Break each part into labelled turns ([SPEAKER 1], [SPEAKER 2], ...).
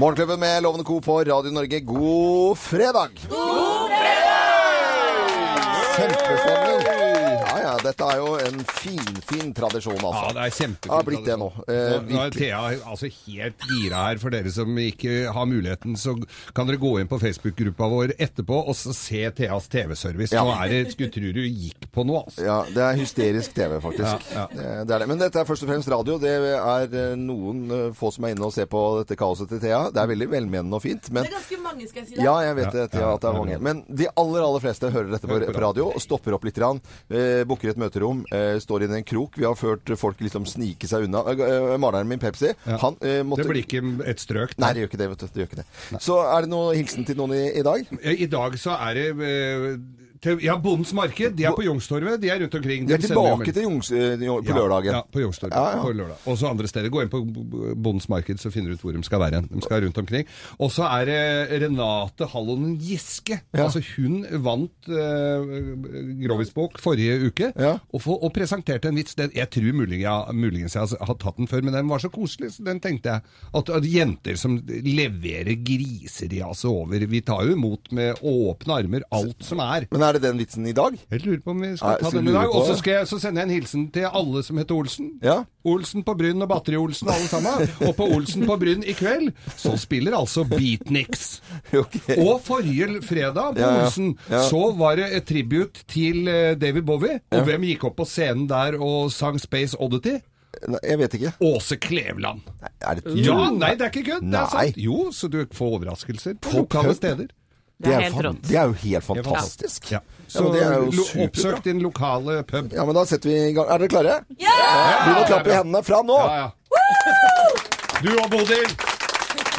[SPEAKER 1] Morgenklubben med Lovende Co på Radio Norge, god fredag! Kjempestemning. Ja, ja, dette er jo en finfin tradisjon, altså.
[SPEAKER 2] Ja, det er kjempefint.
[SPEAKER 1] Ja, blitt det nå. Eh,
[SPEAKER 2] Nå- nå er Thea altså helt gira her. For dere som ikke har muligheten, så kan dere gå inn på Facebook-gruppa vår etterpå og så se Theas TV-service.
[SPEAKER 1] Ja.
[SPEAKER 2] Nå er det Skulle tro du gikk på noe, altså.
[SPEAKER 1] Ja, det er hysterisk TV, faktisk.
[SPEAKER 2] Ja, ja.
[SPEAKER 1] Eh, Det er det. Men dette er først og fremst radio. Det er eh, noen eh, få som er inne og ser på dette kaoset til Thea. Det er veldig velmenende og fint, men
[SPEAKER 3] Det er ganske mange, skal jeg si deg.
[SPEAKER 1] ja, jeg vet det, Thea,
[SPEAKER 2] ja,
[SPEAKER 1] at det er
[SPEAKER 2] ja,
[SPEAKER 1] mange.
[SPEAKER 2] ja.
[SPEAKER 1] Men de aller aller fleste hører dette på,
[SPEAKER 2] Hører på
[SPEAKER 1] på radio og stopper opp litt. grann, Eh, Booker et møterom, eh, står inn i en krok. Vi har ført folk liksom snike seg unna. Eh, eh, Maleren min, Pepsi,
[SPEAKER 2] Ja.
[SPEAKER 1] han eh, måtte
[SPEAKER 2] Det blir ikke et strøk.
[SPEAKER 1] Nei, det gjør ikke det, vet du. Det gjør ikke det. Så er det noe hilsen til noen i, i dag?
[SPEAKER 2] Eh, I dag så er det eh, til, Ja, Bondens Marked. De er på Youngstorget. De er rundt omkring.
[SPEAKER 1] Vi er
[SPEAKER 2] De sender jo
[SPEAKER 1] tilbake til Jungs, eh, jo- på
[SPEAKER 2] Ja,
[SPEAKER 1] lørdagen.
[SPEAKER 2] Ja, på Youngstorget
[SPEAKER 1] Ja, ja.
[SPEAKER 2] på lørdag. Også andre steder. Gå inn på Bondens Marked, så finner du ut hvor de skal være. hen. De skal rundt omkring. Og så er det Renate Hallonen Giske.
[SPEAKER 1] Ja.
[SPEAKER 2] Altså Hun vant uh, Grovis-bok forrige uke,
[SPEAKER 1] Ja.
[SPEAKER 2] og, få- og presenterte en vits. Den, jeg tror mulig, ja, muligens jeg har- har tatt den før, men den var så koselig, så den tenkte jeg. At, at jenter som leverer griseriaset over Vi tar jo imot med åpne armer alt som er.
[SPEAKER 1] Men er det den vitsen i dag?
[SPEAKER 2] Jeg lurer på om vi
[SPEAKER 1] Nei,
[SPEAKER 2] skal ta
[SPEAKER 1] så
[SPEAKER 2] den i
[SPEAKER 1] lurer
[SPEAKER 2] dag.
[SPEAKER 1] på
[SPEAKER 2] Og så
[SPEAKER 1] det.
[SPEAKER 2] skal jeg- så sender jeg en hilsen til alle som heter Olsen.
[SPEAKER 1] Ja.
[SPEAKER 2] Olsen på Bryn og Batteri-Olsen alle sammen. Og på Olsen på Bryn i kveld så spiller altså Beatniks.
[SPEAKER 1] Ok.
[SPEAKER 2] Og forrige fredag på
[SPEAKER 1] Ja, ja.
[SPEAKER 2] Olsen
[SPEAKER 1] Ja.
[SPEAKER 2] så var det et tribut til eh, David Bowie. Og hvem gikk opp på scenen der og sang Space Oddity?
[SPEAKER 1] Nei, Jeg vet ikke.
[SPEAKER 2] Åse Kleveland.
[SPEAKER 1] Er det tull?
[SPEAKER 2] Ja, nei, det er ikke kødd. Det
[SPEAKER 1] Nei.
[SPEAKER 2] er sant. Jo, så du får overraskelser på
[SPEAKER 1] På
[SPEAKER 2] lokale
[SPEAKER 1] pub?
[SPEAKER 2] steder.
[SPEAKER 1] Det er,
[SPEAKER 3] helt
[SPEAKER 1] fan-
[SPEAKER 3] rått.
[SPEAKER 1] det er jo helt fantastisk.
[SPEAKER 2] Ja.
[SPEAKER 1] Ja,
[SPEAKER 2] Så
[SPEAKER 1] men det er jo
[SPEAKER 2] lo-
[SPEAKER 1] superbra.
[SPEAKER 2] oppsøk din lokale pub.
[SPEAKER 1] Ja, men da setter vi i gang. Er dere klare?
[SPEAKER 3] Ja!
[SPEAKER 1] Begynn å klappe i hendene fra nå!
[SPEAKER 2] Ja, ja. Du og Bodil.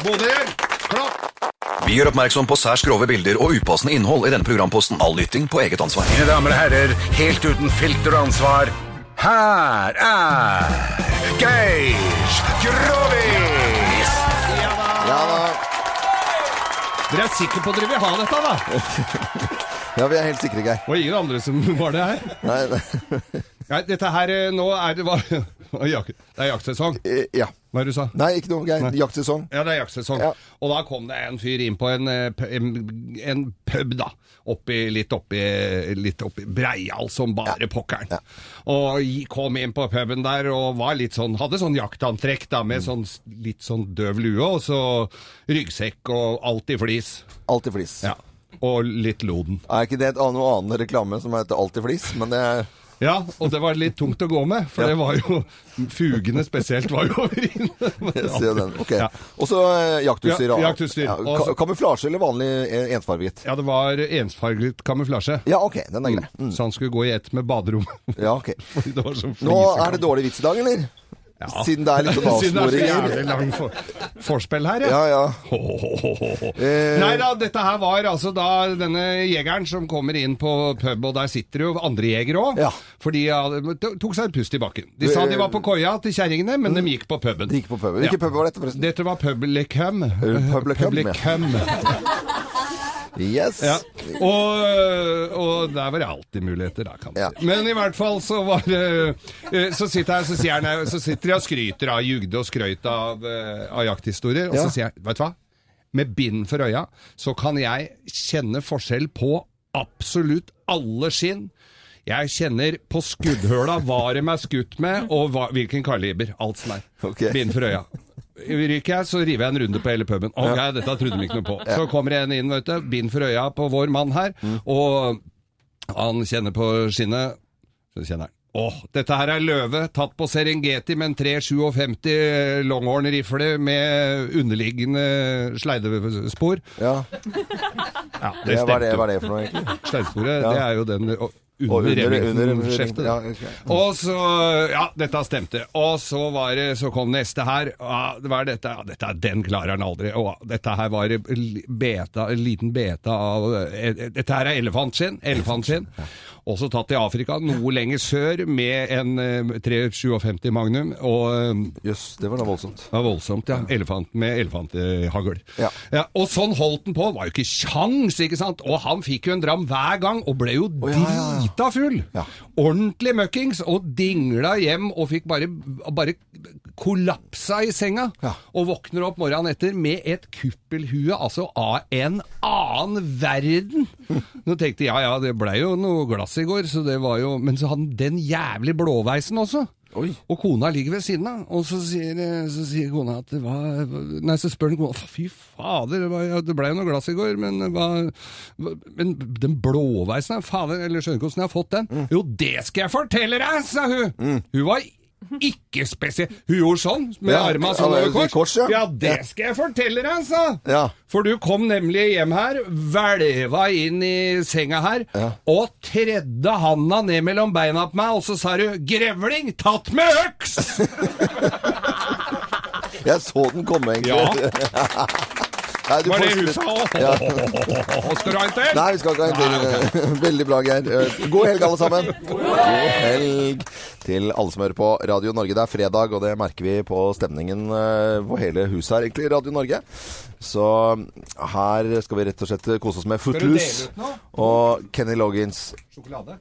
[SPEAKER 2] Bodil, klapp!
[SPEAKER 4] Vi gjør oppmerksom på særs grove bilder og upassende innhold i denne programposten. All lytting på eget ansvar.
[SPEAKER 5] Mine damer og herrer, helt uten filter og ansvar, her er Geir Grovis!
[SPEAKER 1] Ja, da.
[SPEAKER 2] Dere er sikre på at dere vil ha dette, da?
[SPEAKER 1] ja vi er helt sikre, Geir.
[SPEAKER 2] Og ingen andre som var det her?
[SPEAKER 1] Nei, nei.
[SPEAKER 2] Nei, dette her eh, nå er det var, var jak- Det er jaktsesong.
[SPEAKER 1] Eh, Ja.
[SPEAKER 2] Hva er det du sa?
[SPEAKER 1] Nei, ikke noe, Geir. Jaktsesong.
[SPEAKER 2] Ja, det er jaktsesong.
[SPEAKER 1] Ja.
[SPEAKER 2] Og da kom det en fyr inn på en, eh, pu- en, en pub, da. Oppi, litt oppi, litt oppi Breial, som bare pokkeren. Og gi- kom inn på puben der og var litt sånn, hadde sånn jaktantrekk, da, med sånn, s- litt sånn døv lue, og så ryggsekk og alt i flis.
[SPEAKER 1] Alltid flis.
[SPEAKER 2] Ja. Og litt loden.
[SPEAKER 1] Er ikke det et annet, noe annen reklame som heter Alltid flis? Men det er
[SPEAKER 2] Ja, og det var litt tungt å gå med, for det var jo Fugene spesielt var jo over inne.
[SPEAKER 1] jeg ser den. Ok.
[SPEAKER 2] Ja.
[SPEAKER 1] Og så eh, jaktutstyr.
[SPEAKER 2] Ja,
[SPEAKER 1] og-
[SPEAKER 2] jaktutstyr.
[SPEAKER 1] Ja,
[SPEAKER 2] Og så-
[SPEAKER 1] ka- kamuflasje eller vanlig eh, ensfarget?
[SPEAKER 2] Ja, det var ensfarget kamuflasje.
[SPEAKER 1] Ja, OK. Den er grei. Mm.
[SPEAKER 2] Så han skulle gå i ett med baderommet.
[SPEAKER 1] Ja, ok.
[SPEAKER 2] Fordi det var sånn
[SPEAKER 1] Nå er det dårlig vits i dag, eller?
[SPEAKER 2] Ja.
[SPEAKER 1] Siden det er litt sånn
[SPEAKER 2] Siden det er så
[SPEAKER 1] avsporinger.
[SPEAKER 2] jævlig lang for, forspill her,
[SPEAKER 1] Ja, ja. Eh.
[SPEAKER 2] Nei da, dette her var altså da denne jegeren som kommer inn på pub, og der sitter jo andre jegere òg.
[SPEAKER 1] Ja.
[SPEAKER 2] For de hadde- to- tok seg et pust i bakken. De sa de var på koia til kjerringene, men de gikk på puben.
[SPEAKER 1] De gikk på puben. Hvilken
[SPEAKER 2] Ja.
[SPEAKER 1] pub var dette, forresten?
[SPEAKER 2] Dette var Public Hum.
[SPEAKER 1] Public Hum, ja. Yes.
[SPEAKER 2] Ja. Og, og der var det alltid muligheter, da, kan du
[SPEAKER 1] Ja.
[SPEAKER 2] si. Men i hvert fall så var det eh, Så sitter, jeg, så sier han, eh, så sitter de og skryter av jugde og skrøyt av, eh, av jakthistorier, og
[SPEAKER 1] Ja.
[SPEAKER 2] så sier jeg, vet du hva? Med bind for øya så kan jeg kjenne forskjell på absolutt alle skinn. Jeg kjenner på skuddhøla hva de er skutt med, og hva, hvilken kaliber. Alt som er.
[SPEAKER 1] Ok.
[SPEAKER 2] Bind for øya. Ryker jeg, så river jeg en runde på hele puben. Ok, dette trodde vi ikke noe på. Så kommer en inn, vet du. Bind for øya på vår mann her.
[SPEAKER 1] Mm.
[SPEAKER 2] Og han kjenner på skinnet. Så kjenner han. Åh, dette her er løve, tatt på Serengeti med en 357 longhorn-rifle med underliggende sleidespor.
[SPEAKER 1] Ja,
[SPEAKER 2] Ja,
[SPEAKER 1] det var det, var det for noe, egentlig.
[SPEAKER 2] Slagsporet,
[SPEAKER 1] Ja.
[SPEAKER 2] det er jo den og
[SPEAKER 1] Og
[SPEAKER 2] under,
[SPEAKER 1] under-
[SPEAKER 2] under,
[SPEAKER 1] under-
[SPEAKER 2] skjeftet.
[SPEAKER 1] ja, ok.
[SPEAKER 2] Og så Ja, dette stemte. Og så, var det, så kom neste her. Ja, det var dette, ja, dette er- Den klarer han aldri. Og dette her var eh, beta, en liten beta av eh, Dette her er elefantskinn. Elefantskinn. Også tatt til Afrika, noe lenger sør, med en eh, 357 Magnum. Og eh,
[SPEAKER 1] Jøss, det var da voldsomt.
[SPEAKER 2] det var voldsomt, ja. Elefant med elefanthagl.
[SPEAKER 1] Ja.
[SPEAKER 2] og sånn holdt han på. Var jo ikke kjangs, ikke sant? Og han fikk jo en dram hver gang, og ble jo
[SPEAKER 1] ja, ja, ja.
[SPEAKER 2] drita full.
[SPEAKER 1] Ja.
[SPEAKER 2] Ordentlig møkkings, og dingla hjem og fikk bare, bare kollapsa i senga.
[SPEAKER 1] Ja.
[SPEAKER 2] Og våkner opp morgenen etter med et kuppelhue, altså av en annen verden. Nå tenkte jeg, ja ja, det blei jo noe glass i går, så det var jo Men så hadde han den jævlig blåveisen også.
[SPEAKER 1] Oi.
[SPEAKER 2] Og kona ligger ved siden av, og så sier, eh, så sier kona at det var Nei, så spør den kona Fy fader, det, var, ja, det ble jo noe glass i går, men hva hva- Men den blåveisen, her, fader, eller skjønner ikke åssen jeg har fått den. Jo, det skal jeg fortelle deg, sa hun! Hun var ikke spesiell Hun gjorde sånn, med
[SPEAKER 1] Ja,
[SPEAKER 2] armene
[SPEAKER 1] ja,
[SPEAKER 2] sånn
[SPEAKER 1] det er
[SPEAKER 2] over
[SPEAKER 1] i
[SPEAKER 2] kors.
[SPEAKER 1] kors, ja.
[SPEAKER 2] Ja, det skal jeg fortelle deg, sa
[SPEAKER 1] Ja.
[SPEAKER 2] For du kom nemlig hjem her, hvelva inn i senga her,
[SPEAKER 1] Ja.
[SPEAKER 2] og tredde handa ned mellom beina på meg, og så sa du 'grevling, tatt med øks'!
[SPEAKER 1] Jeg så den komme, egentlig. Nei, du
[SPEAKER 2] Var det
[SPEAKER 1] får-
[SPEAKER 2] hun sa òg? Skal du ha en til?
[SPEAKER 1] Nei, vi skal ikke ha en til. Veldig bra, Geir. Eh, God helg, alle sammen. God helg til alle som hører på Radio Norge. Det er fredag, og det merker vi på stemningen eh, på hele huset her, egentlig, Radio Norge. Så her skal vi rett og slett kose oss med
[SPEAKER 2] du dele
[SPEAKER 1] Footloose
[SPEAKER 2] ut noe?
[SPEAKER 1] og Kenny Loggins.
[SPEAKER 2] Sjokolade.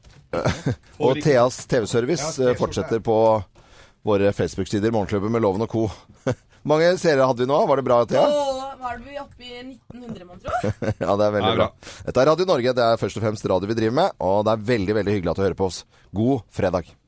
[SPEAKER 1] Og Theas
[SPEAKER 2] Ja,
[SPEAKER 1] TV-service
[SPEAKER 2] det
[SPEAKER 1] eh, fortsetter på våre Facebook-sider, Morgenklubben med Loven og co. mange seere hadde vi nå? Var det bra, Thea?
[SPEAKER 3] Og var det vi oppe i 1900, mon tro?
[SPEAKER 1] Ja, det er veldig
[SPEAKER 2] Ja,
[SPEAKER 1] bra.
[SPEAKER 2] bra.
[SPEAKER 1] Dette er Radio Norge. Det er først og fremst radio vi driver med, og det er veldig veldig hyggelig at du hører på oss. God fredag.